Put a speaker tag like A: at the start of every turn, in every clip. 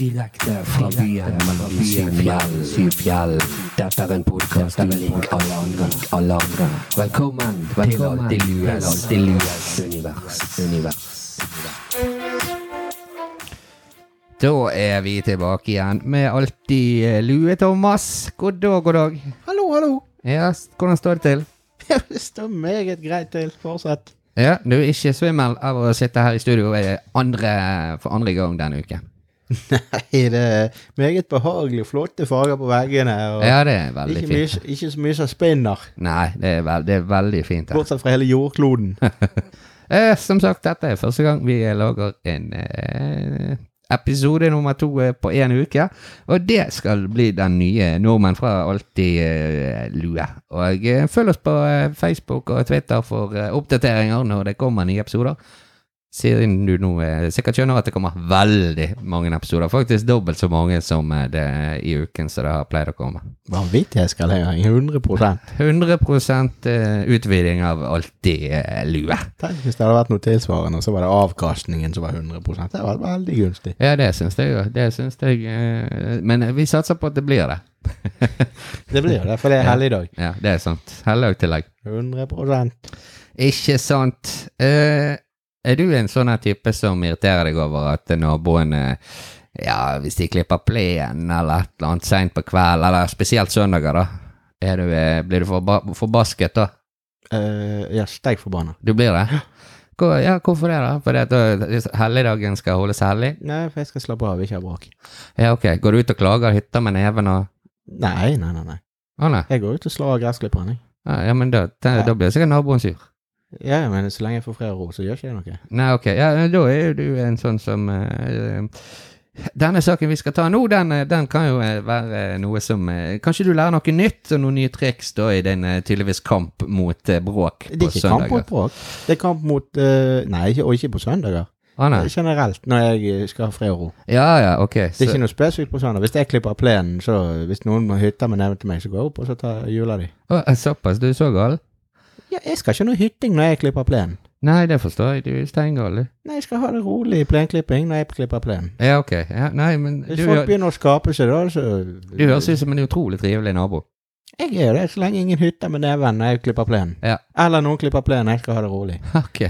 A: Direkte fra byen, mellom byen, fjell, syv fjell. Dette er en podkast lik alle andre, alle andre. Velkommen til
B: Velkommen
A: Alltid
B: til
A: Lues,
B: Alltid
A: Alltid Lues univers, univers.
B: Da er vi tilbake igjen med alltid eh, lue, Thomas. God dag, god dag.
C: Hallo, hallo.
B: Ja, s- hvordan står det til?
C: Det står meget greit til. Fortsett.
B: Ja, du er ikke svimmel av å sitte her i studio eh, andre, for andre gang denne uken.
C: Nei, det er meget behagelig. Flotte farger på veggene. Og
B: Ja, det er veldig
C: ikke, mye,
B: fint.
C: ikke så mye som spinner.
B: Nei, det er, vel- det er veldig fint her.
C: Bortsett fra hele jordkloden.
B: Eh, som sagt, dette er første gang vi eh, lager en eh, episode nummer to eh, på én uke. Og det skal bli den nye nordmenn fra Alltid eh, lue. Og eh, følg oss på eh, Facebook og Twitter for eh, oppdateringer når det kommer nye episoder. Siden du nå eh, sikkert skjønner at det kommer veldig mange episoder. Faktisk dobbelt så mange som eh, det er i uken som det har pleid å komme.
C: Vanvittighetskalendering. 100
B: 100 eh, utviding av Alltid eh, lue.
C: Tenk hvis det hadde vært noe tilsvarende, og så var det avkastningen som var 100 Det var veldig gunstig.
B: Ja, det syns jeg jo. Det syns jeg eh, Men vi satser på at det blir det.
C: Det blir jo det, for det er helligdag.
B: Ja, det er sant. Helligdagstillegg.
C: 100
B: Ikke sant. Eh, er du en sånn her type som irriterer deg over at naboene Ja, hvis de klipper plenen eller et eller annet seint på kvelden, eller spesielt søndager, da. Er du, eh, blir du forba forbasket, da?
C: Eh, ja, steik forbanna.
B: Du blir det? Hvor, ja, hvorfor det, da? Fordi at da- helligdagen skal holdes hellig?
C: Nei, for jeg skal slappe av, ikke ha bråk.
B: Ja, ok. Går du ut og klager hytta med neven og
C: Nei, nei, nei. nei.
B: Å nei.
C: Jeg går ut og slår av gressklipperen, jeg.
B: Ja, ja, men da, da, da blir sikkert naboen sur.
C: Ja, ja, men så lenge jeg får fred og ro, så gjør ikke jeg noe.
B: Nei, ok. Ja, da er jo du en sånn som eh, Denne saken vi skal ta nå, den, eh, den kan jo eh, være noe som eh, Kanskje du lærer noe nytt og noen nye triks da i din eh, tydeligvis kamp mot eh, bråk
C: Det
B: på
C: er ikke kamp mot
B: søndager?
C: bråk. Det er kamp mot eh, Nei, ikke, og ikke på søndager.
B: Å nei.
C: Generelt, når jeg eh, skal ha fred og ro.
B: Ja ja, ok.
C: Det er
B: Så,
C: ikke noe spesifikt på søndag. Hvis jeg klipper av plenen, så hvis noen må hytte med nevnt til meg, så går jeg opp og så tar jeg jula di.
B: Å, eh, såpass, du er så gal?
C: Ja, jeg skal ikke ha noe hytting når jeg klipper av plenen.
B: Nei, det forstår jeg, du er steingal, du.
C: Nei, jeg skal ha det rolig i plenklipping når jeg klipper av plenen.
B: Ja, ok. Ja, nei, men du,
C: Hvis folk
B: hø-
C: begynner å skape seg, da, så
B: du høres ut som en utrolig trivelig nabo.
C: Jeg er jo det, så lenge ingen hytter med neven når jeg klipper plenen.
B: Ja.
C: Eller noen klipper plenen, jeg skal ha det rolig.
B: Ok.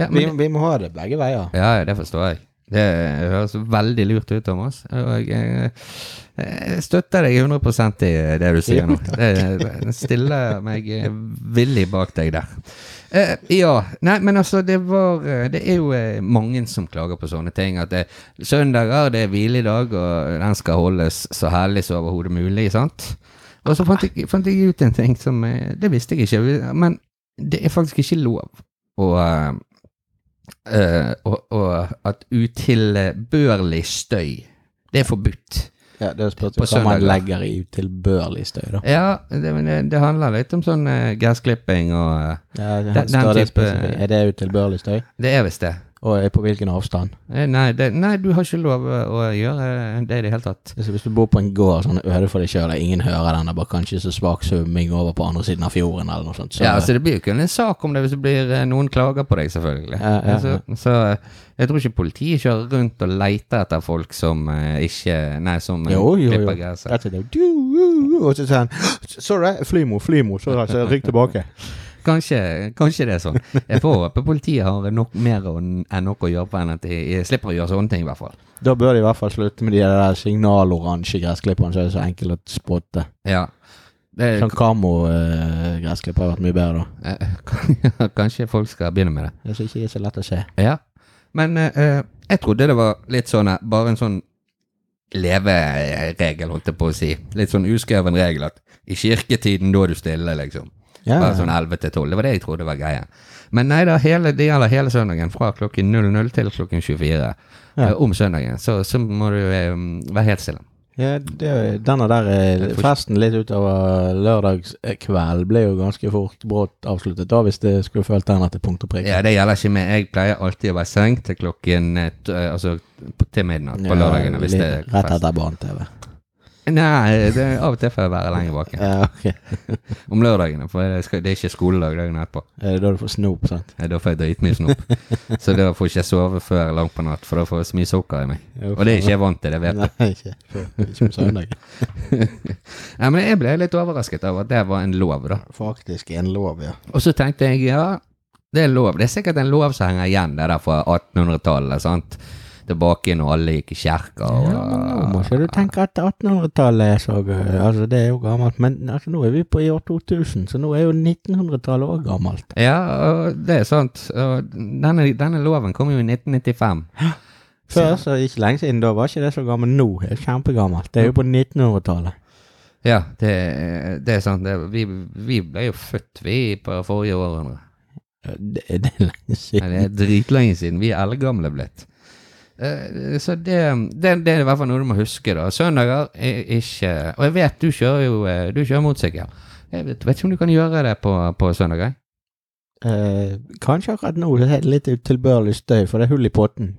B: Ja,
C: Vi,
B: men,
C: vi må ha det begge veier.
B: Ja, ja, det forstår jeg. Det høres veldig lurt ut, Thomas. Og jeg, eh, jeg støtter deg 100 i det du sier nå. Jeg stiller meg villig bak deg der. Eh, ja. Nei, men altså, det var eh, Det er jo eh, mange som klager på sånne ting. At det, søndager, det er hviledag, og den skal holdes så herlig som overhodet mulig, sant? Og så fant jeg, fant jeg ut en ting som eh, Det visste jeg ikke, men det er faktisk ikke lov å eh, Eh, og, og at utilbørlig støy, det er forbudt.
C: Ja, det spørs
B: På
C: hva man
B: søndager.
C: legger i utilbørlig støy, da.
B: Ja, det, men det, det handler litt om sånn eh, gressklipping og eh,
C: Ja, det-
B: Den-
C: står
B: den
C: det
B: type-
C: spesifikt. Er det utilbørlig støy?
B: Det er visst det.
C: Og er på hvilken avstand?
B: Eh, Nei, det. nei, du har ikke lov å å gjøre det i det hele tatt.
C: Altså, hvis du bor på en gård sånn øde for deg sjøl, og ingen hører den, det er bare kanskje så svak summing over på andre siden av fjorden eller noe sånt, så
B: Ja, altså Det blir jo kun en sak om det hvis det blir eh, noen klager på deg, selvfølgelig.
C: Ja, ja, ja.
B: Altså, så eh, jeg tror ikke politiet kjører rundt og leter etter folk som eh, ikke Nei, som eh,
C: Jo, jo, jo.
B: klipper gresset.
C: Dette er jo du, du, du, Og så sier han Så du det? Flymo, flymo. Så da, så rykk tilbake.
B: Kanskje, kanskje det er sånn. Jeg får håpe politiet har nok mer å- enn nok å gjøre på enn at de de slipper å gjøre sånne ting, i hvert fall.
C: Da bør de i hvert fall slutte med de der signaloransje gressklipperne som er så enkle å spotte.
B: Ja. Det,
C: Sånn Kamo-gressklipper har vært mye bedre, da.
B: eh, kan- kanskje folk skal begynne med det.
C: Det som ikke er så lett å se.
B: Ja. Men eh, eh, jeg trodde det var litt sånn eh, bare en sånn leveregel, holdt jeg på å si. Litt sånn uskreven regel at i kirketiden da er du stille, liksom.
C: Ja,
B: Bare sånn 11 til 12. Det var det jeg trodde var greia. Men nei da, hele, det gjelder hele søndagen. Fra klokken 00 til klokken 24
C: Ja.
B: eh, om søndagen. Så, så må du eh, være helt stille.
C: ja det, er- denne der eh, festen litt utover lørdagskveld ble jo ganske fort brått avsluttet, da, hvis det skulle fulgt den etter punkt og prikk.
B: Ja, det gjelder ikke meg. Jeg pleier alltid å være i seng til klokken eh, t- eh, Altså til midnatt på
C: Ja,
B: lørdagene. Hvis det
C: litt
B: er
C: Rett
B: fest.
C: etter barne-TV.
B: Nei, det, av og til får jeg være lenger bak. igjen.
C: Ja, ok. Eh,
B: Om lørdagene, for det, skal, det er ikke skoledag dagen etterpå.
C: Er det da du får snop, sant?
B: Nei, Da får jeg dritmye snop. Så da får ikke jeg sove før langt på natt, for da får jeg så mye sukker i meg.
C: Jo,
B: Og det er ikke jeg vant til, det vet jeg.
C: Nei, ikke, før, ikke på søndag.
B: Nei, men jeg ble litt overrasket over at det var en lov, da.
C: Faktisk en lov, ja.
B: Og så tenkte jeg, ja, det er lov. Det er sikkert en lov som henger igjen, det der fra 1800-tallet, sant? Tilbake når alle gikk i kjerker
C: Ja, men nå må
B: og
C: ikke du tenke at 1800-tallet er så gøy. Altså, det er jo gammelt, men altså, nå er vi på i år 2000, så nå er jo 1900-tallet også gammelt.
B: Ja, og det er sant. Og denne, denne loven kom jo i 1995.
C: Før, så ikke lenge siden, da var ikke det så gammelt. Nå er det kjempegammelt. Det er jo på 1900-tallet.
B: Ja, det, det er sant. Det, vi, vi ble jo født, vi, på forrige århundre.
C: Ja, Eh, Det, det er lenge
B: Nei,
C: siden.
B: det er dritlenge siden. Vi er eldgamle blitt. Eh, Så det, det, det er i hvert fall noe du må huske, da. Søndager er ikke Og jeg vet du kjører jo eh, Du kjører motorsykkel. Jeg vet, vet ikke om du kan gjøre det på, på søndager?
C: Eh, kanskje akkurat nå det er litt utilbørlig støy, for det er hull i potten.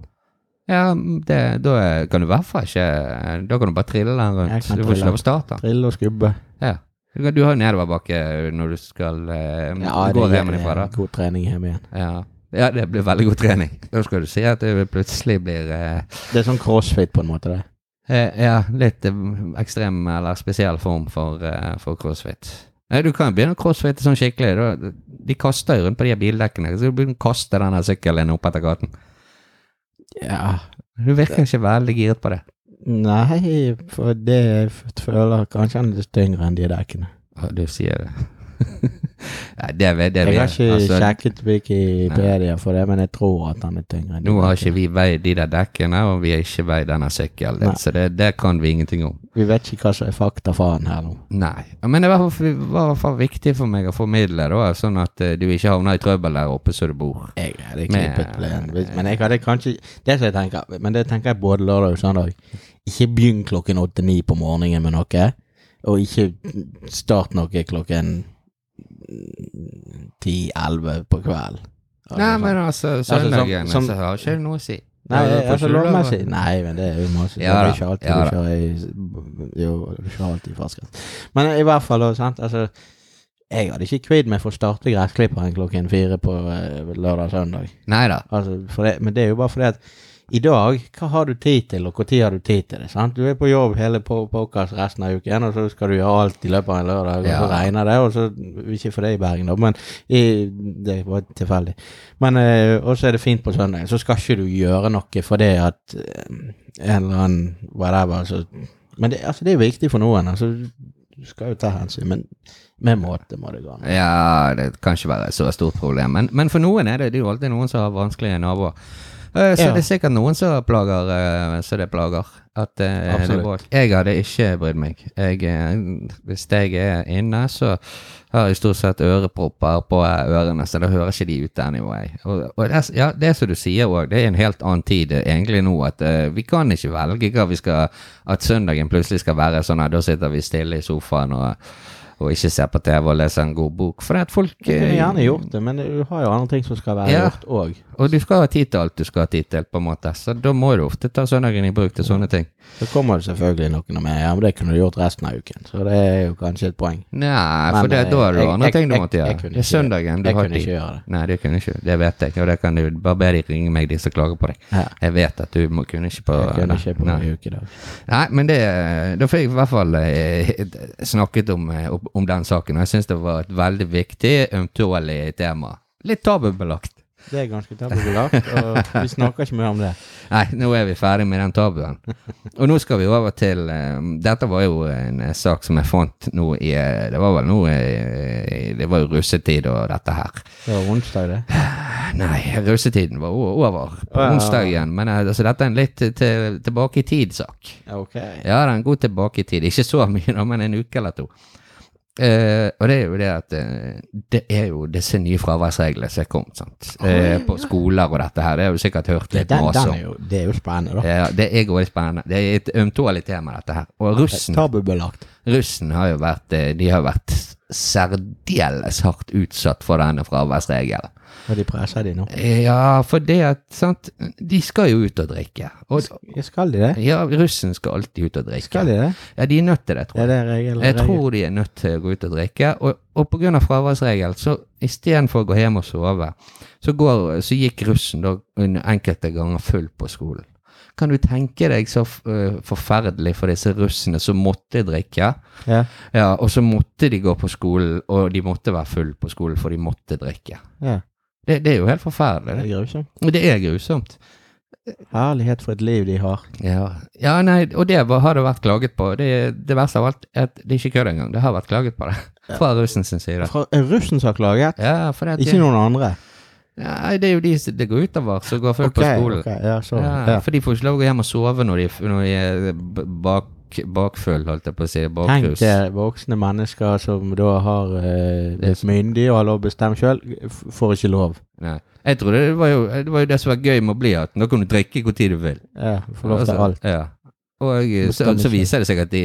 B: Ja, det, da kan du i hvert fall ikke eh, Da kan du bare trille den
C: Jeg
B: rundt.
C: kan
B: Du får
C: trille.
B: ikke lov å starte den.
C: Trille og skubbe.
B: Ja. Du, kan- du har jo nedoverbakke når du skal eh, gå
C: det
B: hjemme ifra, da.
C: god trening hjemme igjen.
B: Ja. ja, det blir veldig god trening. Da skal du se at det plutselig blir eh,
C: Det er sånn crossfit på en måte, det.
B: Eh, ja, litt eh, ekstrem eller spesiell form for, eh, for crossfit. Nei, du kan begynne å crossfitte sånn skikkelig. Da, de kaster jo rundt på de her bildekkene, så du begynner å kaste denne sykkelen opp etter gaten.
C: Ja.
B: Du virker ikke veldig giret på det.
C: Nei, for det jeg f- føler kanskje han er litt tyngre enn de dekkene.
B: Å, Du sier det. Nei, det vet det
C: Jeg
B: vi
C: har ikke
B: altså,
C: sjekket Wikipedia for det, men jeg tror at han er tyngre. enn de
B: Nå har
C: dekkene.
B: ikke vi veid de der dekkene, og vi har ikke veid denne sykkelen.
C: Nei.
B: Så det, det kan vi ingenting om.
C: Vi vet ikke hva som er fakta for han her nå.
B: Nei. Men det var i hvert fall- var i hvert fall viktig for meg å formidle, da, sånn at eh, du ikke havner i trøbbel der oppe som du bor.
C: Jeg hadde
B: Men-
C: klippet plenen. hvis- Men jeg hadde kanskje Det som jeg tenker Men det tenker jeg både lørdag og søndag. Ikke begynn klokken åtte-ni på morgenen med noe, og ikke start noe klokken ti-elleve på kvelden. Altså,
B: Nei,
C: sånn.
B: men altså,
C: som-
B: søndagen
C: som-
B: så har ikke det noe å si.
C: Nei,
B: Ja, da får
C: altså
B: ikke du lov å-
C: lovmessig Nei, men det er jo masse
B: Ja
C: Det er
B: da,
C: ikke alltid
B: ja
C: du
B: da.
C: kjører i Jo, du kjører alltid i fartsgrensen. Men i hvert fall, da, sant, altså Jeg hadde ikke kvidd meg for å starte gressklipperen klokken fire på eh, lørdag og søndag.
B: Nei da.
C: Altså, for det, men det er jo bare fordi at i dag, hva har du tid til, og når har du tid til det? sant? Du er på jobb hele po- pokkers resten av uken, og så skal du gjøre alt i løpet av en lørdag, og så
B: Ja.
C: regner det, og så Ikke for det i Bergen, da, men i, det var tilfeldig. Men eh, Og så er det fint på søndagen, så skal ikke du gjøre noe fordi at eh, en eller annen whatever så, Men det, altså, det er viktig for noen. altså Du skal jo ta hensyn, men med måte må det gå an.
B: Ja, det kan ikke være et så stort problem. Men, men for noen er det, det er jo alltid noen som har vanskelige naboer. Eh, Så
C: Ja.
B: det er sikkert noen som plager eh, Så det plager. At eh, det
C: Absolutt.
B: er bråk. Jeg hadde ikke brydd meg. Jeg, eh, hvis jeg er inne, så har jeg stort sett ørepropper på eh, ørene, så da hører ikke de ut anyway. Og, og det, er, s- ja, det er som du sier òg, det er en helt annen tid eh, egentlig nå. At eh, vi kan ikke velge hva vi skal At søndagen plutselig skal være sånn at da sitter vi stille i sofaen og og ikke ser på TV og leser en god bok. For at folk
C: Du kunne
B: eh,
C: gjerne gjort det, men du har jo andre ting som skal være
B: Ja.
C: gjort òg.
B: Og du skal ha tid til alt du skal ha tid til, på en måte. Så da må du ofte ta søndagen i bruk til sånne ting.
C: Så kommer det selvfølgelig noen med, ja, men det kunne du gjort resten av uken. Så det er jo kanskje et poeng.
B: Nei, for
C: Men,
B: det, da er det
C: eh, jeg-
B: andre ting du
C: jeg-
B: måtte
C: jeg-
B: gjøre.
C: jeg kunne
B: det er
C: ikke-
B: søndagen du
C: jeg
B: har
C: kunne ikke
B: tid.
C: gjøre det.
B: Nei, du kunne ikke. Det vet jeg, og det kan du bare be de ringe meg, de som klager på deg.
C: Ja.
B: Jeg vet at du må, kunne ikke på
C: Jeg kunne
B: nei,
C: ikke på
B: nei.
C: en ukedag.
B: Nei, men det Da fikk jeg i hvert fall eh, snakket om, eh, om- om den saken, og jeg syns det var et veldig viktig, ømtålig tema. Litt tabubelagt.
C: Det er ganske tabubelagt, og vi snakker ikke mye om det.
B: Nei, nå er vi ferdig med den tabuen. Og nå skal vi over til eh, Dette var jo en eh, sak som jeg fant nå i eh, Det var vel nå eh, Det var jo russetid og dette her.
C: Det var onsdag, det.
B: Nei, russetiden var o- over på
C: Ja, ja, ja.
B: onsdagen. Men eh, altså, dette er en litt til, tilbake i tid-sak.
C: Ok.
B: Ja, det er en god tilbake i tid. Ikke så mye, da, men en uke eller to. Eh, og det er jo det at eh, det er jo disse nye fraværsreglene som er kommet, sant. Eh, på skoler og dette her. Det har du sikkert hørt
C: Den,
B: litt mas
C: den
B: om.
C: er jo, det er jo spennende, da.
B: Ja, Eh, det er veldig spennende. Det er et ømtålig tema, dette her. Og russen,
C: Tabubelagt.
B: russen har jo vært eh, De har vært særdeles hardt utsatt for denne fraværsregelen. Eh,
C: Og de presser de nå.
B: Ja, for det at sant, De skal jo ut og drikke. Og,
C: Skal de det?
B: ja, russen skal alltid ut og drikke.
C: Skal de det?
B: Ja, de er nødt til det, tror jeg.
C: Er det regel?
B: Jeg tror de er nødt til å gå ut og drikke. Og, og på grunn av fraværsregel, så istedenfor å gå hjem og sove, så, går, så gikk russen da en- enkelte ganger full på skolen. Kan du tenke deg så f- eh, forferdelig for disse russene som måtte drikke?
C: Ja.
B: Ja, og så måtte de gå på skolen, og de måtte være full på skolen, for de måtte drikke.
C: ja.
B: Det, det er jo helt
C: Det
B: forferdelig.
C: er grusomt.
B: Det, det er grusomt.
C: Herlighet for et liv de har.
B: Ja. ja, nei, og det var, har det vært klaget på. Det, det verste av alt er at det er ikke kødd engang. Det har vært klaget på det fra russen sin side.
C: Fra, er russen som har klaget?
B: Ja, for det, at
C: Ikke
B: de-
C: noen andre?
B: Nei, det er jo de som- det går utover, som går full på skolen.
C: ok, ja, så,
B: Ja,
C: ja.
B: for de får ikke lov å gå hjem og sove når de, når de er eh, b- bak, bakfull, holdt jeg på å si.
C: Tenk
B: Bakrus.
C: deg voksne mennesker som da har eh, blitt myndige og har lov å bestemme sjøl, får ikke lov.
B: Nei. Jeg tror det var, jo, det var jo det som var gøy med å bli at nå kan du drikke hvor tid du vil.
C: Ja, får lov til
B: Altså,
C: alt.
B: Ja. Og eh, så,
C: Bestemmer
B: så
C: selv.
B: viser det seg at de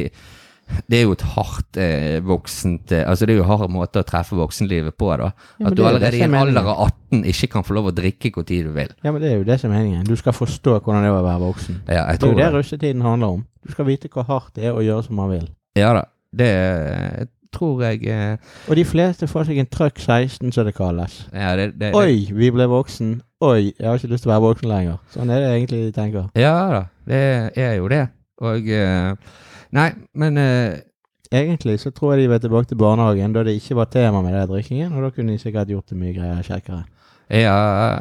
B: det er jo et hardt eh, voksent eh, Altså det er jo hard måte å treffe voksenlivet på, da.
C: men
B: At
C: det
B: du
C: er jo
B: allerede
C: det
B: i en
C: som er
B: alder
C: meningen.
B: av 18 ikke kan få lov å drikke hvor tid du vil.
C: Ja, men det er jo det som er meningen. Du skal forstå hvordan det er å være voksen.
B: Ja, jeg
C: Det er
B: tror
C: jo det russetiden handler om. Du skal vite hvor hardt det er å gjøre som man vil.
B: Ja da. Det eh, tror jeg eh,
C: Og de fleste får seg en trøkk 16, som det kalles.
B: Ja, det, det, det,
C: Oi, vi ble voksen. Oi, jeg har ikke lyst til å være voksen lenger. Sånn er det egentlig de tenker.
B: Ja da, det er jo det. Og eh, Nei, men eh,
C: Egentlig så tror jeg de vil tilbake til barnehagen, da det ikke var tema med den drikkingen, og da kunne de sikkert gjort det mye greier kjekkere.
B: ja,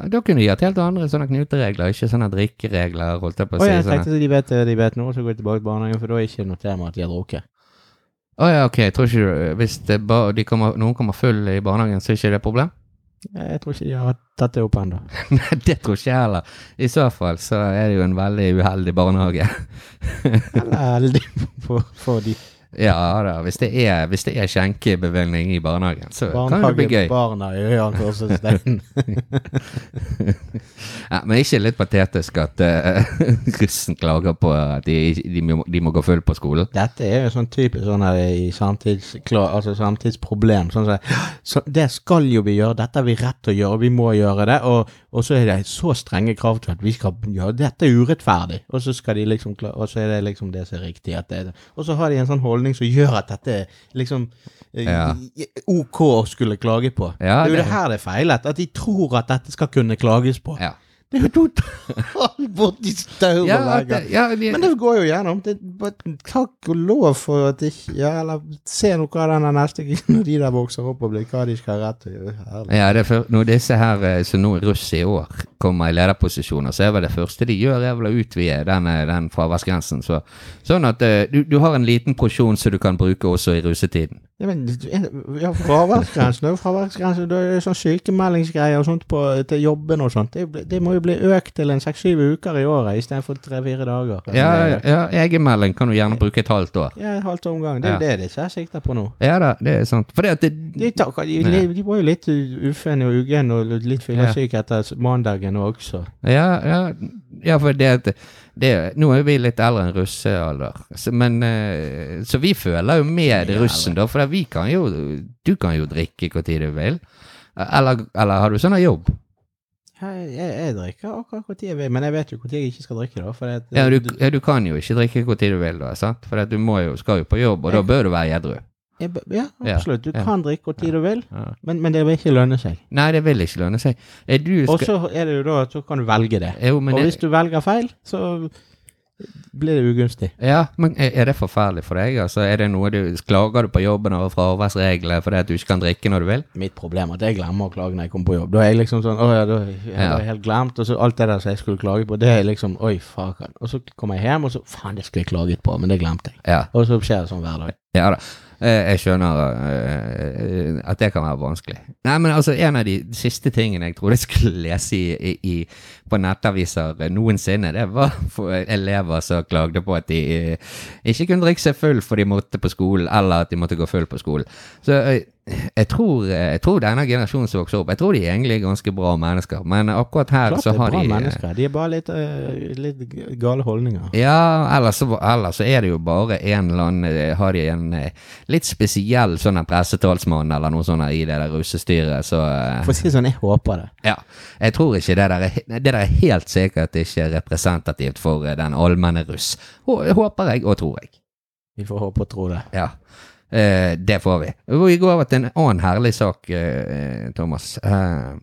B: da kunne de hatt helt andre sånne knuteregler, ikke sånne drikkeregler, holdt jeg på å
C: Og
B: si.
C: jeg
B: sånne-
C: tenkte så de vet det de vet nå, så går de tilbake til barnehagen, for da er det ikke noe tema at de har drukket.
B: Å ja, ok, jeg tror ikke du Hvis det ba, de kommer, noen kommer full i barnehagen, så er ikke det et problem?
C: Jeg tror ikke de har tatt det opp ennå.
B: Nei, det tror ikke jeg heller. I så fall så er det jo en veldig uheldig barnehage.
C: Eller heldig for, for de
B: Ja da, hvis det er, hvis det er skjenkebevilgning i barnehagen, så kan det bli gøy.
C: barnehagebarna i Øyankorsesteinen.
B: Ja, men ikke litt patetisk at eh, russen klager på at de, de, må, de må gå full på skolen?
C: Dette er jo sånn typisk sånn her i samtidskla- altså samtidsproblem. Sånn som, så det skal jo vi gjøre, dette har vi rett til å gjøre, vi må gjøre det. Og, og så er det så strenge krav til at vi skal gjøre dette er urettferdig. Og så, skal de liksom, kla- og så er det liksom det som er riktig. At det, og så har de en sånn holdning som gjør at dette er liksom eh,
B: Ja.
C: ok å skulle klage på.
B: Ja,
C: det er jo
B: det-
C: det, her det er feilet. At de tror at dette skal kunne klages på.
B: Ja.
C: Det er jo totalt borti stauret
B: Ja,
C: hver
B: at
C: gang.
B: det- ja, de-
C: Men det går jo gjennom. Det, bare takk og lov for at ikke Ja, eller se nå hva denne neste når de der vokser opp og blir hva de skal ha rett til å gjøre. Herlig.
B: ja, det er før, når disse her eh, som nå er russ i år, kommer i lederposisjoner, så er vel det første de gjør, er vel å utvide den, eh, den fraværsgrensen. Så, sånn at eh, du, du har en liten porsjon som du kan bruke også i russetiden.
C: Ja, men ja, fraværsgrensen er jo fraværsgrensen. Det er jo sånn sykemeldingsgreier og sånt på, til jobben og sånt. Det, bli- det må jo bli økt til en seks-syv uker i året istedenfor tre-fire dager.
B: Ja, ja egenmelding kan du gjerne bruke et halvt år.
C: Ja, en halvt omgang. Det er jo det de ikke sikter på nå.
B: Ja da, det er sant. For det at det,
C: De, tar, de, de, de var jo litt ufine og uggen og litt fyllesyke etter mandagen også.
B: Ja, ja, ja for det, at- det Nå er vi litt eldre enn russealder, så, men eh, Så vi føler jo med russen, da, for at vi kan jo Du kan jo drikke hvor tid du vil. Eller, eller har du sånn jobb?
C: Jeg, jeg, jeg drikker akkurat når jeg vil, men jeg vet jo når jeg ikke skal drikke, da. For eh, det,
B: Ja, du, ja, du kan jo ikke drikke hvor tid du vil, da, sant? for at du må jo, skal jo på jobb, og da bør du være edru.
C: jeg, b- ja,
B: Ja,
C: absolutt. Du
B: ja.
C: kan drikke hvor tid du vil,
B: Ja.
C: men, men det vil ikke lønne seg.
B: Nei, det vil ikke lønne seg. Er du
C: Og
B: skal,
C: så er det jo da at så kan du velge det.
B: jo, men
C: Og
B: er-
C: hvis du velger feil, så blir det ugunstig.
B: Ja, men er er det forferdelig for deg? Altså, er det noe du, Klager du på jobben over fraværsreglene fordi at du ikke kan drikke når du vil?
C: Mitt problem er at jeg glemmer å klage når jeg kommer på jobb. Da er jeg liksom sånn Å ja, da jeg
B: Ja.
C: har jeg helt glemt. Og så alt det der som jeg skulle klage på, det er liksom Oi, faen. Og så kommer jeg hjem, og så Faen, det skulle jeg klaget på, men det glemte jeg.
B: Ja.
C: Og så skjer det sånn hver dag.
B: Ja da. Eh, Jeg skjønner eh, at det kan være vanskelig. Nei, men altså, en av de siste tingene jeg trodde jeg skulle lese i, i, i, på nettaviser eh, noensinne, det var for elever som klagde på at de eh, ikke kunne drikke seg full for de måtte på skolen, eller at de måtte gå full på skolen. Så eh, jeg tror, eh, jeg tror denne generasjonen som vokser opp, jeg tror de egentlig er ganske bra mennesker, men akkurat her
C: Klart det
B: så
C: er
B: har
C: bra
B: de eh,
C: mennesker. De er bare litt, eh, litt gale holdninger.
B: Ja, ellers så, ellers så er det jo bare en eller annen eh, Har de en eh, litt spesiell sånn en pressetalsmann eller noe sånt her i det der russestyret, så eh,
C: For å si det sånn, jeg håper det.
B: Ja. Jeg tror ikke det der er he- Det der er helt sikkert ikke representativt for eh, den allmenne russ. Hå- Håper jeg, og tror jeg.
C: Vi får håpe og tro det.
B: Ja. Eh, det får vi. Vi går over til en annen herlig sak, eh, Thomas. Eh,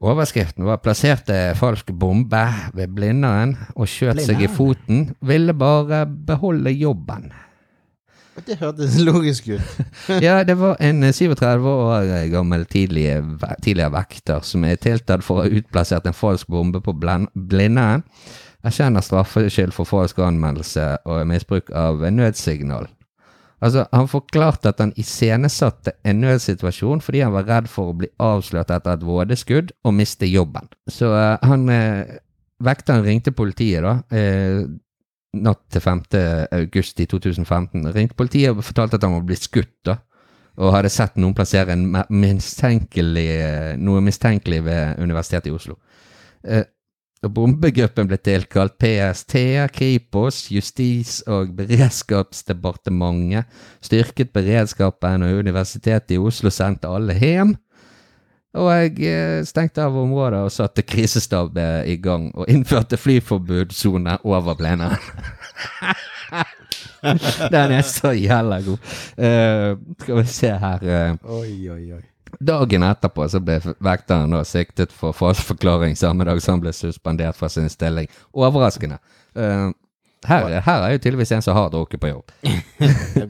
B: overskriften var 'Plasserte falsk bombe ved Blindern og skjøt seg i
C: Blindern?
B: foten'. 'Ville bare beholde jobben'.
C: Det hørtes logisk ut.
B: Ja, det var en eh, 37 år gammel tidlig, ve- tidligere vekter som er tiltalt for å ha utplassert en falsk bombe på Blen- Blindern. Erkjenner straffskyld for falsk anmeldelse og misbruk av nødsignal. Altså, Han forklarte at han iscenesatte en nødsituasjon fordi han var redd for å bli avslørt etter et vådeskudd og miste jobben. Så eh, han eh, Vekteren ringte politiet, da. Eh, natt til 5. august i 2015. Ringte politiet og fortalte at han var blitt skutt, da. Og hadde sett noen plassere en me- mistenkelig, noe mistenkelig ved Universitetet i Oslo. Eh, og bombegruppen ble tilkalt PST, Kripos, Justis- og beredskapsdepartementet. Styrket beredskapen, og Universitetet i Oslo sendte alle hjem. Og jeg eh, stengte av området og satte krisestab eh, i gang, og innførte flyforbudssone over pleneren. Den er så jævla god. Eh, skal vi se her eh.
C: Oi, oi, oi.
B: Dagen etterpå så ble vekteren da siktet for falsk forklaring samme dag som han ble suspendert fra sin stilling. Overraskende. Eh, her, her er jo tydeligvis en som har drukket på jobb.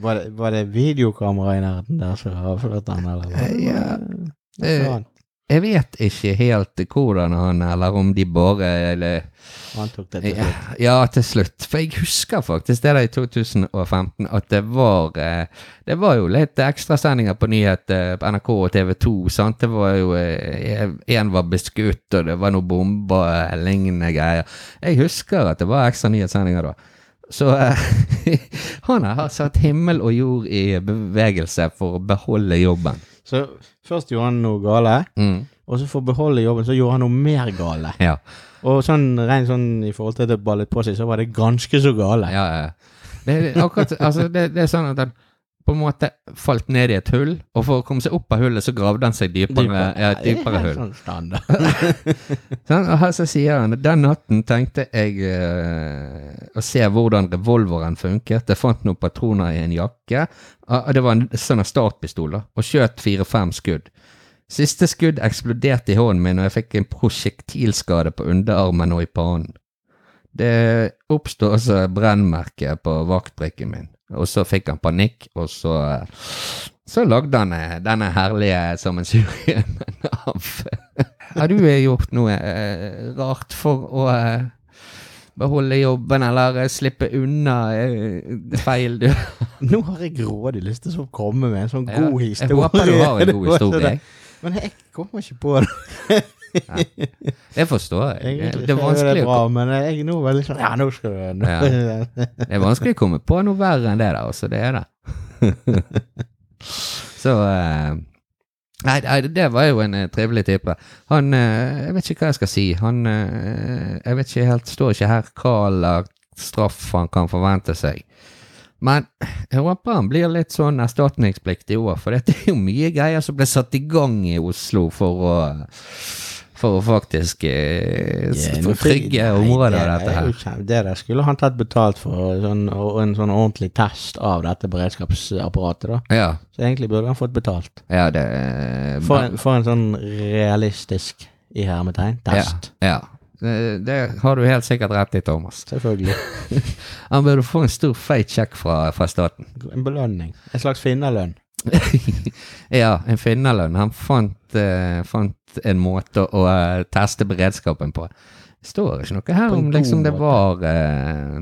C: Var det, var det videokamera i nærheten der som avslørte han, eller? var det
B: Ja.
C: bare
B: Eh,
C: Han,
B: Jeg vet ikke helt hvordan han, eller om de bare eller,
C: han tok det til
B: Ja,
C: slutt.
B: ja, til slutt. For jeg husker faktisk det der i 2015, at det var eh, Det var jo litt ekstrasendinger på nyhet eh, på NRK og TV 2, sant. Det var jo Én var beskutt, og det var noen bomber eh, lignende greier. Jeg husker at det var ekstra nyhetssendinger da. Så eh, han her har satt himmel og jord i bevegelse for å beholde jobben.
C: Så først gjorde han noe gale,
B: Mm,
C: og så for å beholde jobben, så gjorde han noe mer gale.
B: ja.
C: Og sånn rent sånn i forhold til at det ballet på seg, så var det ganske så gale.
B: Ja, ja. Det er akkurat altså, det, det er sånn at han på en måte falt ned i et hull, og for å komme seg opp av hullet, så gravde han seg dypere, ja, et dypere hull.
C: Sånn standard.
B: Sånn, og her så sier han den natten tenkte jeg eh, å se hvordan revolveren funket. Jeg fant noen patroner i en jakke. Ah, det var en sånn en startpistol, da, og skjøt fire-fem skudd. Siste skudd eksploderte i hånden min, og jeg fikk en prosjektilskade på underarmen og i pannen. Det oppsto også brennmerke på vaktbrikken min, og så fikk han panikk, og så eh, Så lagde han eh, denne herlige sammensurien av har du eh, gjort noe eh, rart for å eh, beholde jobben, eller eh, slippe unna eh, feil du
C: Nå har jeg grådig lyst til å komme med en sånn
B: Ja,
C: god
B: jeg
C: historie.
B: håper du har en
C: Det
B: god
C: var sånn
B: historie,
C: der. Men jeg kommer ikke på det.
B: Det forstår jeg.
C: Egentlig
B: Det, det, er
C: så
B: vanskelig å
C: bra, men jeg nå var litt sånn Ja, nå skal du
B: kom- det er vanskelig å komme på noe verre enn det der, altså. Det er det. Så eh, Nei, nei, det var jo en eh, trivelig type. Han eh, Jeg vet ikke hva jeg skal si. Han eh, Jeg vet ikke helt Står ikke her hva slags straff han kan forvente seg. Men jeg håper han blir litt sånn erstatningspliktig i år, for det er jo mye greier som ble satt i gang i Oslo for å For å faktisk eh, s- for trygge områder av dette her.
C: Det der skulle han tatt betalt for, sånn, og en sånn ordentlig test av dette beredskapsapparatet, da.
B: Ja,
C: Så egentlig burde han fått betalt.
B: ja, det eh,
C: For en, for en sånn realistisk, i hermetegn, test.
B: Ja. ja. Det, det har du helt sikkert rett i, Thomas.
C: Selvfølgelig.
B: Han burde få en stor feit sjekk fra, fra staten.
C: En belønning. En slags finnerlønn.
B: ja, en finnerlønn. Han fant, eh, fant en måte å eh, teste beredskapen på. Det står ikke noe her
C: På en
B: om liksom
C: god
B: det
C: måte.
B: var eh,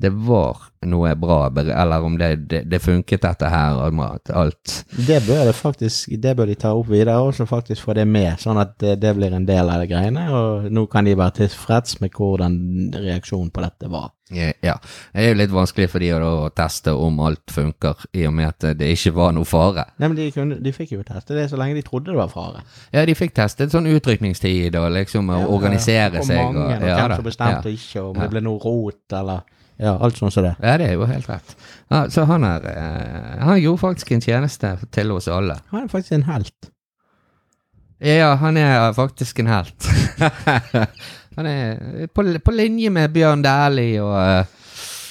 B: det var noe bra, ber- eller om det, det, det funket dette her, om at alt
C: Det bør, det faktisk, det bør de ta opp videre, og så faktisk få det med, sånn at det, det blir en del av det greiene. Og nå kan de være tilfreds med hvordan reaksjonen på dette var.
B: Eh, Ja, det er jo litt vanskelig for de å da teste om alt funker, i og med at det ikke var noe fare.
C: Nei, men de, kunne, de fikk jo teste det så lenge de trodde det var fare.
B: Ja, de fikk testet sånn utrykningstid og liksom å organisere
C: og
B: seg.
C: mange, og,
B: ja
C: hvem
B: da,
C: som bestemte
B: ja.
C: ikke, om det ble noe rot, eller ja, alt sånn som det.
B: Ja, det er jo helt rett. Ja, så han er eh, Han gjorde faktisk en tjeneste til oss alle.
C: Han er faktisk en helt.
B: Ja, han er faktisk en helt. han er på, på linje med Bjørn Dæhlie og eh,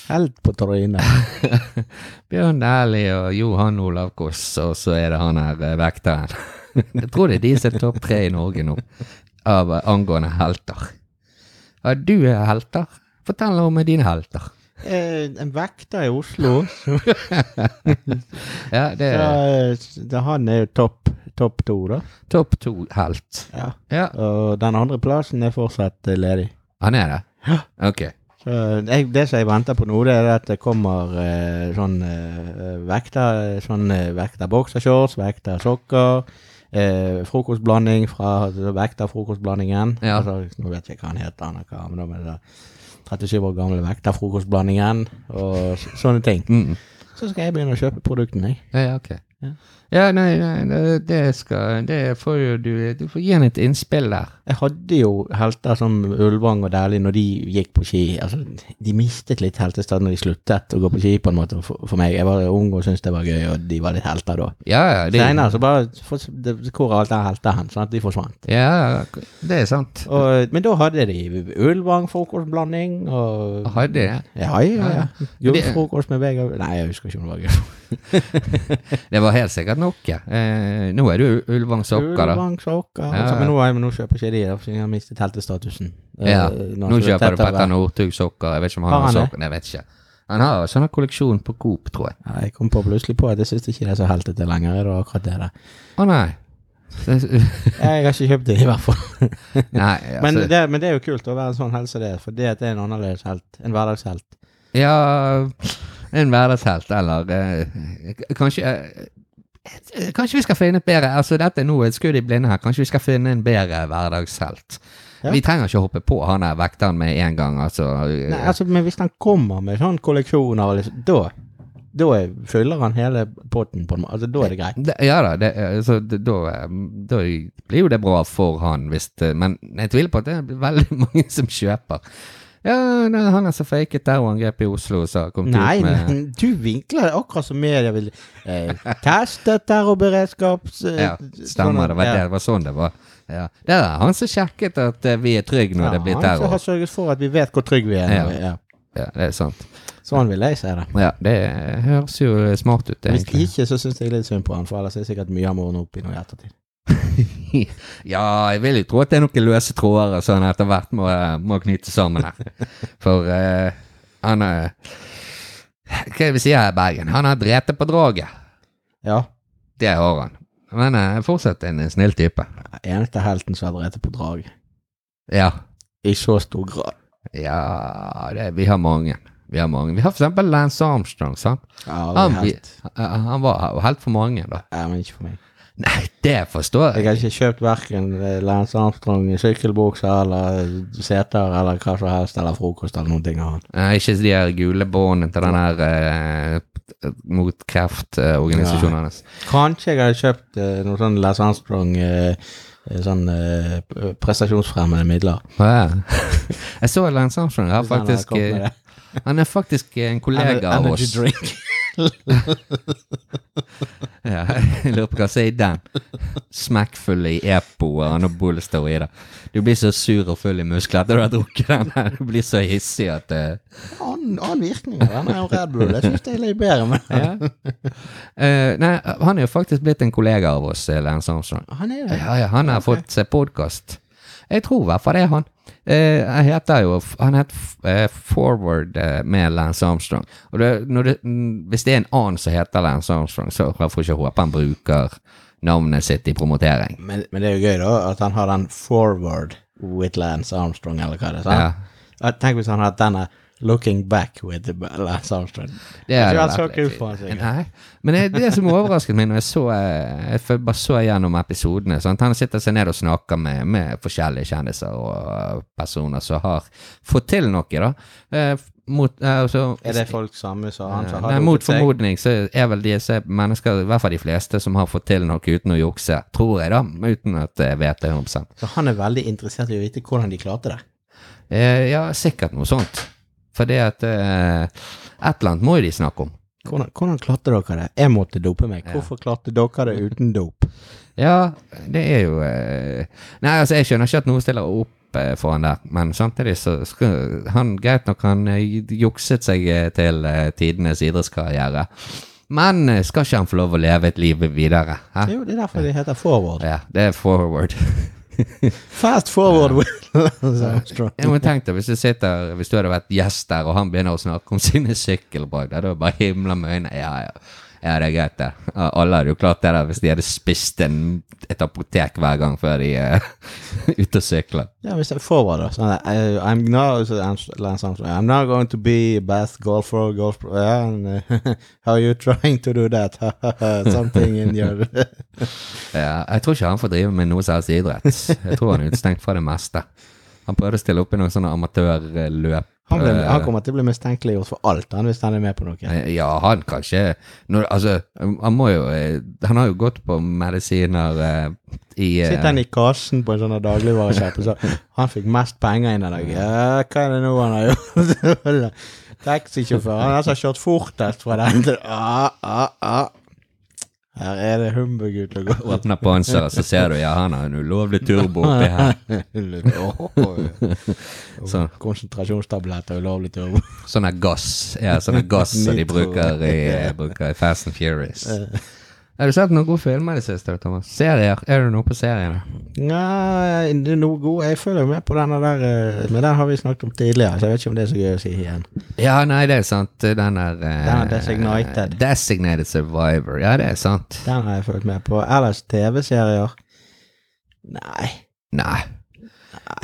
C: Helt på trynet.
B: Bjørn Dæhlie og Johan Olav Koss, og så er det han her eh, vekteren. Jeg tror det er de som er topp tre i Norge nå, av eh, angående helter. Ja, du er helter. Fortell om dine helter.
C: Eh, en vekter i Oslo, så,
B: Ja, det er
C: så, eh, han er jo topp topp to, da.
B: topp to-helt.
C: Ja.
B: Ja,
C: Og den andre plassen er fortsatt eh, ledig.
B: han er det?
C: Ja.
B: Ok.
C: Så Eh, jeg, det som jeg venter på nå, det er at det kommer eh, sånn eh, vekter, sånn eh, vekter boksershorts, vekter sokker, eh, frokostblanding fra vekter frokostblandingen.
B: Ja.
C: Altså, nå vet jeg ikke hva han heter, han, og hva, men da med det der 37 år gamle vekter frokostblandingen og s- sånne ting.
B: Mm.
C: Så skal jeg begynne å kjøpe produktene, jeg.
B: Ja, ja, ok.
C: Ja.
B: Ja, nei, nei, det- det skal Det får jo du Du får gi han et innspill der.
C: Jeg hadde jo helter som Ulvang og Dæhlie når de gikk på ski. Altså, de mistet litt heltestad når de sluttet å gå på ski, på en måte, for, for meg. Jeg var ung og syntes det var gøy, og de var litt helter da.
B: Ja, ja. Det,
C: Senere så bare for, det, Hvor er alt er helter hen? Sånn at de forsvant.
B: ja, det er sant.
C: Og, men da hadde de Ulvang frokostblanding og
B: Hadde det.
C: Ja,
B: Ah.
C: ja, ja.
B: Ja, ja.
C: Julefrokost med Vegard Nei, jeg husker ikke om det var gulfrokost.
B: Det var helt sikkert noe. Eh, nå er du Ulvang Sokker, da.
C: Ulvang sokker.
B: Ja,
C: Altså,
B: ja.
C: men nå, er- men nå kjøper ikke de, da, for de har mistet heltestatusen.
B: Ja.
C: Eh, når
B: Nå
C: det er
B: kjøper du
C: tettere.
B: Petter Northug sokker. Jeg vet ikke om han
C: Har
B: har
C: han det?
B: sokker. Nei, Jeg vet ikke. Han har sånn en kolleksjon på Coop, tror jeg.
C: Ja, jeg kom på plutselig på at jeg syns ikke det er så heltete lenger. Det var akkurat det der.
B: Å nei.
C: Jeg har ikke kjøpt det, i hvert fall.
B: Nei,
C: Men,
B: altså
C: det, men det er jo kult å være en sånn helt som det, er, for det at det er en annerledes helt. En hverdagshelt.
B: Ja, en hverdagshelt, eller eh, k- Kanskje eh, eh, Kanskje vi skal finne et bedre Altså, dette er nå et skudd i blinde her. Kanskje vi skal finne en bedre hverdagshelt.
C: Ja.
B: Vi trenger ikke hoppe på han der vekteren med en gang, altså. eh,
C: Nei, altså, men hvis han kommer med sånn kolleksjoner, og liksom, da da er- fyller han hele potten på en måte. Altså, da er det greit.
B: det, ja da, det, eh, så d- da, eh, da blir jo det bra for han, hvis det Men jeg tviler på at det er veldig mange som kjøper. Ja, nei, han er så faket terrorangrepet i Oslo, så kom til
C: Nei,
B: ut med
C: men du vinkler det akkurat som media vil. Eh, testet terrorberedskaps... Eh,
B: Ja, stemmer. Det var, det, det var sånn det var. Ja. Det er han som sjekket at eh, vi er trygge når det blir
C: Ja, han som har
B: terror.
C: sørget for at vi vet hvor trygge vi er.
B: Ja.
C: Ja. Ja.
B: Ja, det er sant.
C: Sånn vil jeg si det.
B: Ja, det høres jo smart ut,
C: Hvis
B: egentlig.
C: ikke, så syns jeg litt synd på han, for ellers er det sikkert mye han må ordne opp i noe i ettertid.
B: Ja, jeg vil jo tro at det er noen løse tråder og sånn etter hvert må, må knytte sammen her. For eh, han er Hva er det vi sier her i Bergen? Han har drete på draget.
C: Ja.
B: Det har han. Men eh, fortsatt en snill type.
C: Eneste helten som har drept på draget.
B: Ja.
C: I så stor grad.
B: Ja, det, vi har mange. Vi har mange. Vi har for eksempel Lance Armstrong, sant.
C: Ja, det er
B: Han,
C: helt.
B: Ah, vi- han- Eh, han var helt for mange, da.
C: Ja, men ikke for meg.
B: Nei, det forstår
C: Jeg
B: jeg.
C: har ikke kjøpt verken Lance Armstrong sykkelbukse eller seter eller hva som helst, eller frokost eller noen ting av han.
B: Nei, Eh, ikke de her gule båndene til den her eh, mot kreftorganisasjonen
C: Ja.
B: hans.
C: Kanskje jeg hadde kjøpt eh, noen sånn Lance Armstrong eh, eh, sånn eh, p- prestasjonsfremmende midler. Sånn
B: Ja. Jeg så Lance Armstrong. Han, er
C: Hvis han hadde
B: faktisk,
C: kommet
B: eh,
C: med det.
B: han er faktisk eh, en
C: Ener-
B: kollega av
C: energy
B: oss.
C: drink.
B: Ja, jeg lurer på hva som er i den. Smekkfull i EPO og anabole steroider. Du blir så sur og full i muskler etter du har drukket den. her. Du blir så hissig at eh,
C: Annen annen virkning av den er jo Red Bull. Jeg syns det er litt bedre, men
B: ja. Eh, Nei, han er jo faktisk blitt en kollega av oss, eh, Lance Armstrong.
C: han er det.
B: Ja, ja, han har fått seg podkast. Jeg tror i hvert fall det er han. Eh, han heter jo Han het eh, Forward eh, med Lance Armstrong. Og det, når det, mm, hvis det er en annen som heter Lance Armstrong, så jeg får ikke håpe han bruker navnet sitt i promotering.
C: Men, men det er jo gøy, da, at han har den forward with Lance Armstrong, eller hva det er. sant?
B: Ja.
C: Ja, Tenk hvis han hadde denne Looking back with the Bella Soundstrand.
B: Det
C: Jeg
B: hadde
C: tror han så
B: vært
C: ikke
B: litt-
C: ut på han, sikkert.
B: Nei. Men det, det som overrasket meg når jeg så eh, Jeg f- bare så gjennom episodene sant? Han sitter seg ned og snakker med, med forskjellige kjendiser og eh, personer som har fått til noe, da. Eh, f- Mot, eh, altså-
C: Er det folk samme som han som har
B: Nei,
C: dopet
B: mot
C: seg?
B: formodning så er vel disse mennesker, i hvert fall de fleste, som har fått til noe uten å jukse. Tror jeg, da. Uten at jeg vet det 100
C: Så han er veldig interessert i å vite hvordan de klarte det.
B: eh, Ja, sikkert noe sånt. For det at eh, Et eller annet må jo de snakke om.
C: Hvordan, hvordan klarte dere det? Jeg måtte dope meg. Hvorfor klarte dere det uten dop?
B: Ja, det er jo eh, Nei, altså, jeg skjønner ikke at noen stiller opp eh, for han der, men samtidig så skal han Greit nok, han eh, jukset seg eh, til eh, tidenes idrettskarriere, men eh, skal ikke han få lov å leve et liv videre? Hæ?
C: Jo, det er derfor de heter forward.
B: Ja, det er forward.
C: Fast forward with Lance Armstrong.
B: Jeg må tenke deg, hvis, du sitter, hvis du hadde vært gjest der, og han begynner å snakke om sine sykkelbragder, da hadde du bare himla med øynene. Ja, ja. Ja, det er greit, det. Ja, Alle hadde jo klart det der hvis de hadde spist en, et apotek hver gang før de er ute og sykler.
C: Ja, hvis det er forward, da. Sånn, eh, I'm, not, så Ernst- Lance Armstrong, I'm not going to be a best golfer, golf pro- ja, and, eh, How are you trying to do that? Something in your
B: Ja, jeg tror ikke han får drive med noe som helst idrett. Jeg tror han er utestengt fra det meste. Han prøvde å stille opp i noen sånne amatørløp.
C: han, ble, han
B: eh,
C: kommer til å bli mistenkeliggjort for alt, han, hvis han er med på noe.
B: Eh, Ja, han kan ikke når, Altså, han må jo eh, Han har jo gått på medisiner eh, i eh,
C: Sitter han i kassen på en sånn dagligvarekjøp og så Han fikk mest penger inn i dag. Ja, hva er det nå han har gjort? Taxisjåfør. Han har altså kjørt fortest fra den til ah, ah, ah. Her er det humbug ute og går.
B: åpner panseret, så ser du ja, han har en ulovlig turbo oppi her. Sånn.
C: Konsentrasjonstablett og ulovlig turbo.
B: Sånn er gass. Ja, sånn er gass som de bruker i, bruker i Fast and Furious. Har du sett noen gode filmer i det siste, Thomas? Serier? Er du noe på seriene?
C: Nei, det er noe god. Jeg følger med på denne der, eh, men den har vi snakket om tidligere, så jeg vet ikke om det er så gøy å si igjen.
B: Ja, nei, det er sant. Den er eh,
C: Den er Designated.
B: Designated Survivor. Ja, det er sant.
C: Den har jeg fulgt med på. Ellers TV-serier? Nei.
B: Nei.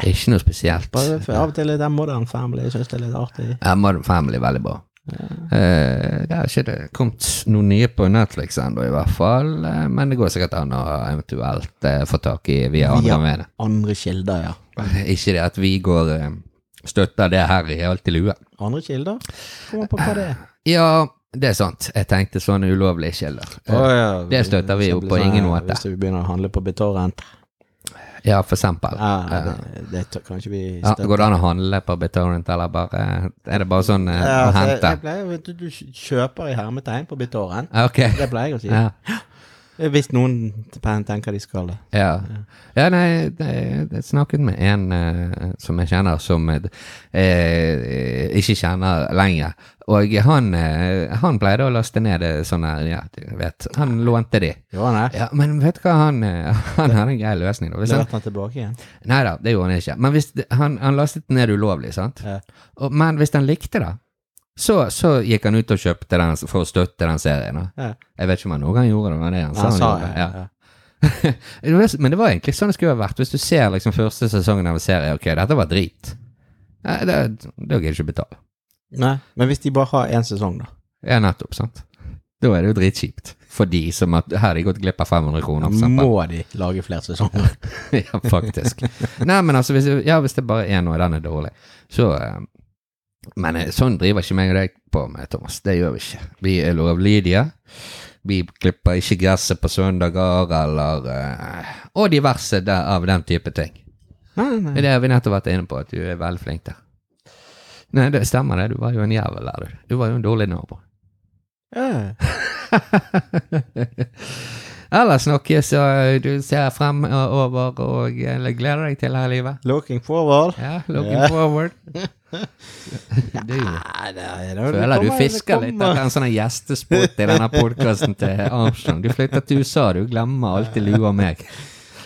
B: Ikke noe spesielt.
C: Bare for, av og til litt den Modern Family. Jeg synes det er litt artig.
B: Ja, Modern Family er veldig bra. Eh, det har ikke det kommet noen nye på Netflix ennå, i hvert fall. eh, men det går sikkert an å eventuelt eh, få tak i via andre
C: Ja.
B: medier.
C: Andre kilder, ja.
B: Ikke det at vi går eh, støtter det her i alt i lue.
C: Andre kilder? Kommer på hva det er.
B: Ja, det er sant. Jeg tenkte sånne ulovlige kilder. Eh, det støtter vi jo på ingen måte.
C: Hvis vi begynner å handle på BitTorrent.
B: Ja, for eksempel.
C: Ja, det, det tør- kan ikke vi
B: Ja,
C: støtte.
B: går det an å handle på BitTorrent, eller bare Er det bare sånn eh,
C: Ja,
B: å
C: altså, jeg,
B: hente?
C: jeg pleier, vet du, du kjøper i hermetegn på BitTorrent.
B: Ja, Ok.
C: Det pleier jeg å si. Eh,
B: Ja.
C: Hvis noen tenker de skal det.
B: Ja. ja, nei, det- jeg snakket med en eh, som jeg kjenner, som jeg eh, ikke kjenner lenger. Og han, eh, han pleide å laste ned eh, sånne, ja, du vet, han lånte de.
C: Jo, nei.
B: Ja, men vet du hva, han, eh, han hadde en grei løsning. Da. Hvis han,
C: Leverte han tilbake igjen?
B: nei da, det gjorde han ikke. Men hvis, det- han, han lastet ned ulovlig, sant?
C: Ja.
B: Og, men hvis han likte det, så, så gikk han ut og kjøpte den for å støtte den serien. Da.
C: Ja.
B: Jeg vet ikke om han noen gang gjorde det, men det er han sa
C: Han
B: han
C: sa
B: gjorde.
C: ja.
B: Ja. Det var- Men det var egentlig sånn det skulle ha vært. Hvis du ser liksom første sesongen av en serie, ok, dette var drit. Nei, det- Da gidder du ikke betale.
C: Nei, men hvis de bare har én sesong, da?
B: Ja, nettopp, sant. Da er det jo dritkjipt. For de som at, her har de gått glipp av 500 kroner, for eksempel.
C: Må de lage flere sesonger?
B: ja, faktisk. Nei, men altså, hvis, ja, hvis det bare er noe, den er dårlig, så eh, Men eh, sånn driver ikke meg og deg på med, Thomas. Det gjør vi ikke. Vi er lovlydige. Vi klipper ikke gresset på søndager, eller eh, Og diverse der, av den type ting.
C: Nei, nei.
B: Men Det har vi nettopp vært inne på, at du er veldig flink der. Nei, det stemmer det. Du var jo en jævel der, du. Du var jo en dårlig nabo.
C: Ja.
B: Eller snakkes, og eh, du ser fremover og eh, gleder deg til her livet.
C: Looking forward.
B: Ja, looking
C: Ja.
B: forward. Du
C: Nei, det er- det er- det
B: føler du
C: kommer- det
B: fisker litt
C: kommer.
B: etter en sånn gjestespot i denne podkasten til Armstrong. Du flytter til USA, du glemmer alltid lua meg.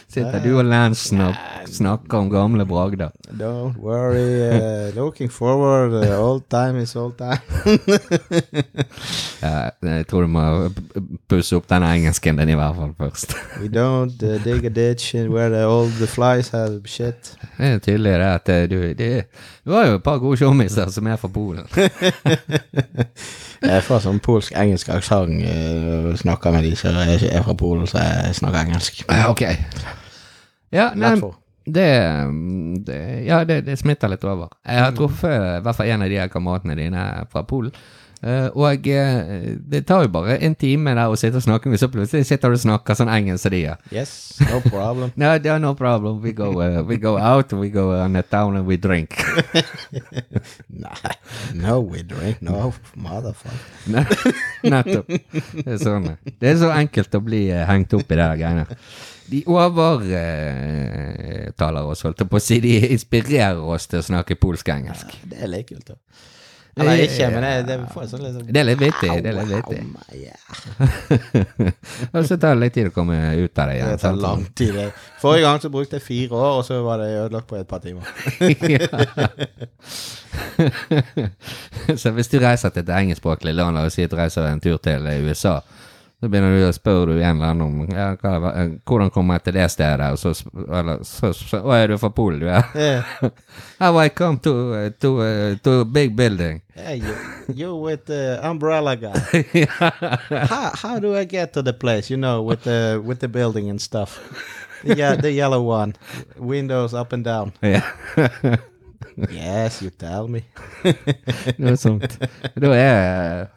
B: Sitter du og Lansen og snakker om gamle bragder.
C: Don't worry. eh, looking forward. eh, old time is old time.
B: Ja, jeg tror du må pusse opp den engelsken din i hvert fall først.
C: We don't uh, dig a ditch in where the, all the flies have shit.
B: Det er tydelig det at eh, du det, Du har jo et par gode tjommiser som er fra Polen.
C: Jeg får sånn polsk-engelsk aksent eh, og snakker med de som er ikke er fra Polen, så jeg snakker engelsk.
B: ok. Ja, nei,
C: Hvertfall.
B: det, det Ja, det, det smitter litt over. Jeg har truffet i hvert fall en av de her kameratene dine fra Polen. Eh, og eh, det tar jo bare en time der å sitte og snakke, men så plutselig sitter du og snakker sånn engelsk som de gjør.
C: Yes, no problem.
B: No, no, no problem. We go, uh, we go out, we go on the town and we drink.
C: Nei, no we drink, no motherfucker.
B: Ne- Nettopp. Det er sånn. Det er så enkelt å bli eh, hengt opp i det der greiene. De overtaler eh, taler oss, holdt jeg på å si. De inspirerer oss til å snakke polsk-engelsk.
C: Det er litt kult, da. Eller ikke, men det, det får en sånn liksom
B: Det er litt vittig. Det er litt vittig.
C: Au, ja.
B: Og så tar det litt tid å komme ut av det
C: Det
B: igjen.
C: tar
B: sant?
C: lang tid. det. Forrige gang så brukte jeg fire år, og så var det ødelagt på et par timer.
B: Ja. så hvis du reiser til et engelskspråklig land og sier at du reiser en tur til USA, så begynner du å spørre du en eller annen om ja, hva, hvordan kommer jeg til det stedet, og så, sp- eller, så, så Å, er du fra Polen, du er?
C: Eh,
B: How I come to, uh, to, uh, to a big building.
C: Hey, you, you with the umbrella guy. how, how do I get to the place? You know, with the with the building and stuff. The, ye- the yellow one, windows up and down.
B: Ja.
C: Yes, you tell me.
B: Noe sånt. Da er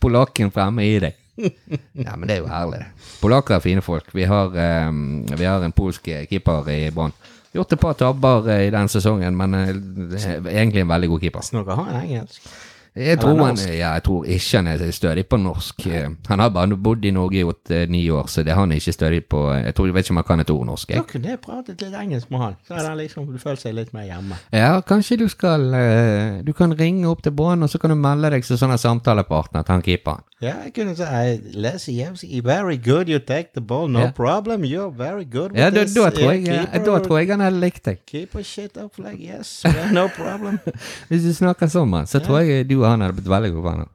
B: polakken fremme i deg. Ja, men det er jo herlig. Polakker er fine folk. Vi har, eh, vi har en polsk keeper i Brann. Gjort et par tabber eh, i den sesongen, men eh, det er egentlig en veldig god keeper.
C: Snakker han engelsk?
B: Jeg tror, han,
C: norsk?
B: ja, jeg tror ikke han er stødig på norsk. Eh, Han har bare bodd i Norge i åtte-ni år, så det han er ikke stødig på Jeg tror jeg vet ikke om han kan et ord norsk.
C: Da
B: Jeg.
C: kunne jeg pratet litt engelsk med han. Så hadde han liksom følt seg litt mer hjemme.
B: Ja, kanskje du skal eh, Du kan ringe opp til Brann, og så kan du melde deg som sånn samtalepartner til han keeperen.
C: Ja, jeg kunne si I, Les Jevski, very good, you take the ball, no
B: Ja.
C: problem, you're very good with
B: Ja, da,
C: this.
B: da,
C: eh,
B: tror jeg, ja, da
C: keeper-
B: tror jeg han hadde likt deg.
C: Keep a shit up like yes, yeah, no problem.
B: Hvis du snakker sånn, mann, så tror jeg du og han hadde blitt veldig gode venner.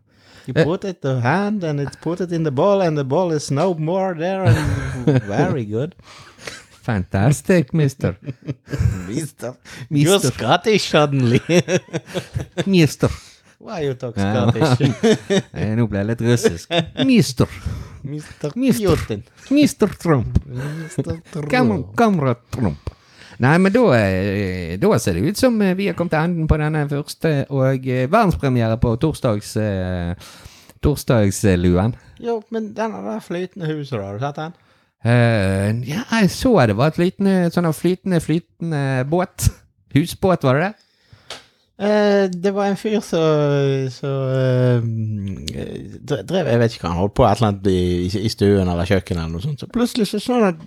C: You put it the hand and it put it in the ball and the ball is no more there and very good.
B: Fantastic, mister.
C: Mister. You're
B: Mister.
C: Scottish suddenly.
B: Mister.
C: Why you talk
B: Ja.
C: Scottish?
B: Eh, Nå ble jeg litt russisk. Mister.
C: Mr.
B: Mister.
C: Putin.
B: Mister Trump.
C: Mr. Trump.
B: Kam- Kamerat Trump. Nei, men da, eh, da ser det ut som eh, vi har kommet til enden på denne første, og eh, verdenspremiere på torsdags... eh, Torsdagsluen.
C: Jo, men den der flytende huset, da, har du sett den?
B: Eh, ja, jeg så det var et flytende, sånn flytende, flytende båt. Husbåt, var det det?
C: Eh, det var en fyr som som, eh, dre- eh, drev Jeg vet ikke hva han holdt på et eller annet i, i stuen eller kjøkkenet eller noe sånt. Så plutselig så sånn at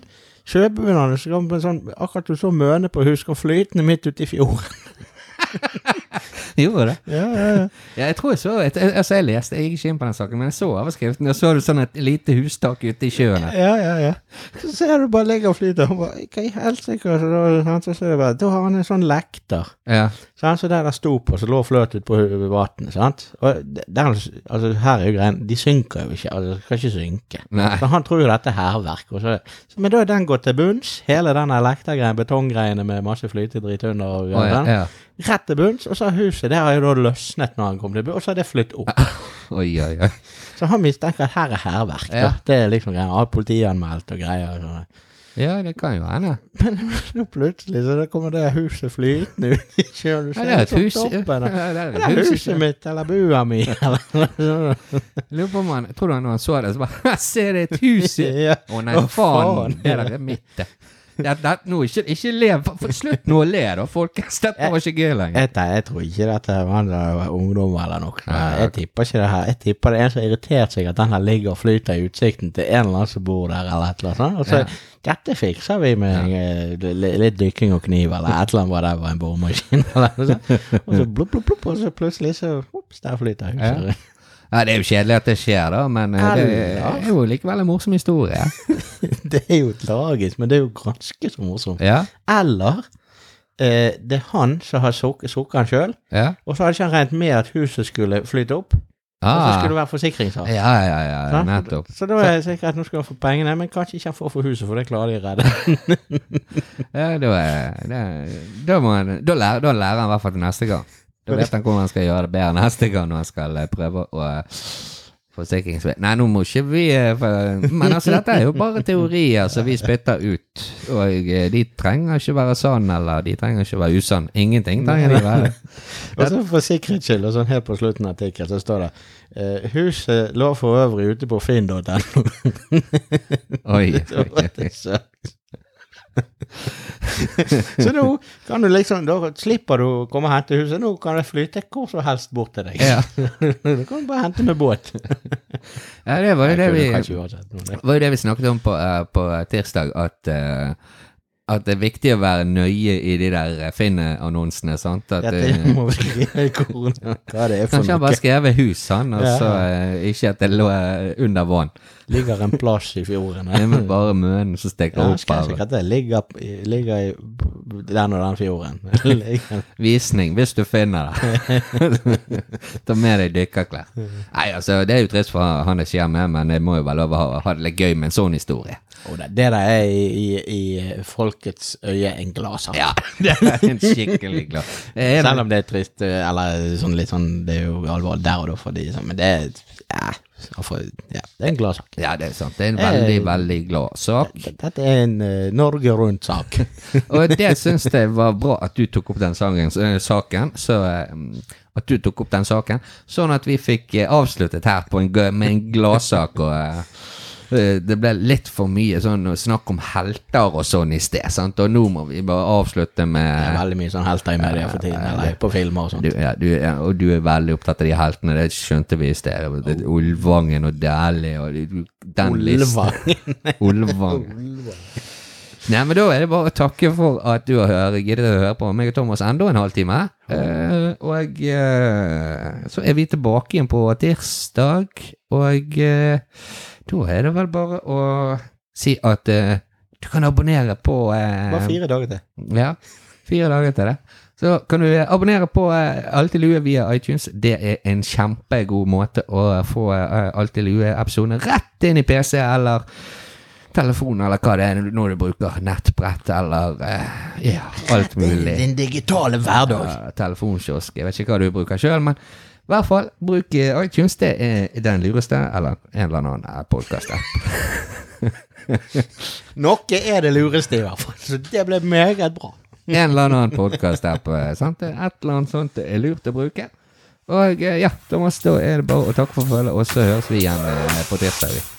C: kjøpebuen hans kom på en sånn Akkurat du så møne på husk og flytende midt ute i fjorden.
B: Gjorde det?
C: ja, ja, ja.
B: Ja, jeg tror jeg så et, jeg- altså jeg leste, jeg gikk ikke inn på den saken, men jeg så overskriften, og så har du sånn et lite hustak ute i sjøen. her.
C: Ja, ja, ja. Så ser du bare ligger og flyter. Og bare, hva i helsike? Og så da- sant, så ser du bare, Da har han en sånn lekter.
B: Ja.
C: Sant, så der det sto på, så lå fløt ut på hu- vannet. sant? Og d- der, altså, her er jo greien, de synker jo ikke. altså, De skal ikke synke.
B: Nei.
C: Så han tror jo dette er hærverk. og så- så- Men da er den gått til bunns. Hele den lektergreien, betonggreiene med masse flytedrit under
B: Å,
C: og
B: ja,
C: greier.
B: ja.
C: Rett til bunns. Og så har huset der har jo da løsnet når han kom til bunns, og så har det flytt opp.
B: Oi, oi, oi.
C: Så han mistenker at her er hærverk. da.
B: Ja.
C: Det er liksom greier. Har politianmeldt og greier. og sånn.
B: Ja, det kan jo hende.
C: Nå plutselig så da kommer det huset flytende ut i sjøen. Du
B: Ja,
C: ser
B: det er et
C: liksom
B: hus. Ja,
C: toppen, da.
B: det
C: Det er huset mitt, eller bua mi, eller noe sånt.
B: Lurer på om han, tror du han når han så det, så bare, se det er et hus. i-
C: Ja.
B: Å nei,
C: Å,
B: faen,
C: faen.
B: det der er mitt. det. Det, det, nå, ikke, ikke le, for- for- slutt nå å le da, folkens, dette var ikke gøy lenger.
C: Jeg, te- jeg tror ikke dette var en eh, ungdom eller noe.
B: Nei,
C: Jeg tipper ikke det her. Jeg tipper det er en som har irritert seg at den her ligger og flyter i utsikten til en eller annen som bor der, eller et eller annet sånt. Og så
B: Ja.
C: dette fikser vi med eh, li- litt dykking og kniv, eller et eller annet var det var en boremaskin, eller noe sånt. Og så blupp, blupp, blupp, og så plutselig så Ops, der flyter huset.
B: Ja, det er jo kjedelig at det skjer da, men eh, det
C: Eller?
B: er jo likevel en morsom historie.
C: Det er jo tragisk, men det er jo ganske så morsomt.
B: Ja,
C: Eller eh, det er han som har suk- sukket han sjøl,
B: ja,
C: og så hadde ikke han regnet med at huset skulle flyte opp. Og så skal
B: Ah,
C: du
B: ja,
C: være forsikringssak.
B: ja, ja, ja,
C: Sant?
B: nettopp.
C: Så da er det sikkert nå skal han få pengene, men kanskje ikke han får for huset, for det klarer de å redde.
B: Ja, da, er- det- da, må han, da, lærer, da lærer han i hvert fall til neste gang. Da vet han hvordan han skal gjøre det bedre neste gang når han skal eh, prøve å eh, Forsikringsvei Nei, nå må ikke vi eh, for- Men altså, dette er jo bare teorier som vi spytter ut. Og eh, de trenger ikke være sann, eller de trenger ikke være usann. Ingenting trenger de være.
C: Og så for sikkerhets skyld, og sånn helt på slutten av artikkelen, så står det eh, 'Huset lå for øvrig ute på finn.no'.
B: Oi.
C: Da var det søkt. så nå kan du liksom Da slipper du å komme og hente huset. Nå kan det flyte hvor som helst bort til deg.
B: Ja.
C: du kan bare hente med båt.
B: ja, det var jo det vi
C: Nei, kanskje uansett noe, det.
B: Det var jo det vi snakket om på, eh, på tirsdag, at, eh, at det er viktig å være nøye i de der eh, Finn-annonsene. sant? At, eh,
C: Dette må vi skrive i korona. Hva det er for
B: Kanskje han
C: noe.
B: bare skrev hus, han, og
C: Ja.
B: så eh, ikke at det lå eh, under vann.
C: Ligger en plass i fjorden.
B: Det er bare mønen som stikker
C: Ja,
B: opp
C: skal
B: av
C: jeg sikkert det. Ligger, i- ligger i den og den fjorden. Ligger-
B: visning, hvis du finner det. Ta med deg dykkerklær. Nei, altså, det er jo trist for han det skjer med, men det må jo være lov å ha, ha det litt gøy med en sånn historie.
C: Og det, det der er i, i, i folkets øye en gladsak.
B: Ja, det er en skikkelig glad. Det er en-
C: Selv om det er trist, eh, eller sånn litt sånn Det er jo alvor der og da for de, sånn, men det er ja, for, ja, det er en gladsak.
B: Ja, det er sant. Det er en veldig,
C: Eh,
B: veldig glad sak.
C: Dette er en eh, Norge Rundt-sak.
B: Og det syns jeg var bra at du tok opp den sangen, eh, saken. Så, eh, at du tok opp den saken, sånn at vi fikk eh, avsluttet her på en, gø- med en gladsak. Og eh, eh, det ble litt for mye sånn snakk om helter og sånn i sted, sant? og nå må vi bare avslutte
C: Det er
B: med
C: veldig mye sånn helter i media for tiden, eller på filmer og sånt.
B: du, ja, du, ja, og du er veldig opptatt av de heltene, det skjønte vi i sted. Og det- Olvangen og Dæhlie og de- den listen.
C: Olvangen.
B: Olvang. Nei, men da er det bare å takke for at du har hør- giddet å høre på meg og Thomas enda en halvtime. Eh, og eh, så er vi tilbake igjen på tirsdag, og eh, da er det vel bare å si at eh, du kan abonnere på eh,
C: Bare fire dager til.
B: ja, fire dager til det. Så kan du abonnere på eh, Alt i lue via iTunes. Det er en kjempegod måte å få eh, Alt i lue-episoden rett inn i PC eller telefon, eller hva det er når du bruker nettbrett eller eh, ja, alt mulig.
C: Din digitale hverdag.
B: Ja, telefonkiosk. Jeg vet ikke hva du bruker sjøl, men i hvert fall bruk eh, iTunes. Det er den lureste, eller en eller annen eh, podkast-app.
C: Noe er det lureste, i hvert fall. Så det ble meget bra.
B: en eller annen podkast-app. eh, sant? Et eller annet sånt er lurt å bruke. Og eh, ja, Thomas, da er det bare å takke for følget, og så høres vi igjen eh, på tirsdag. vi.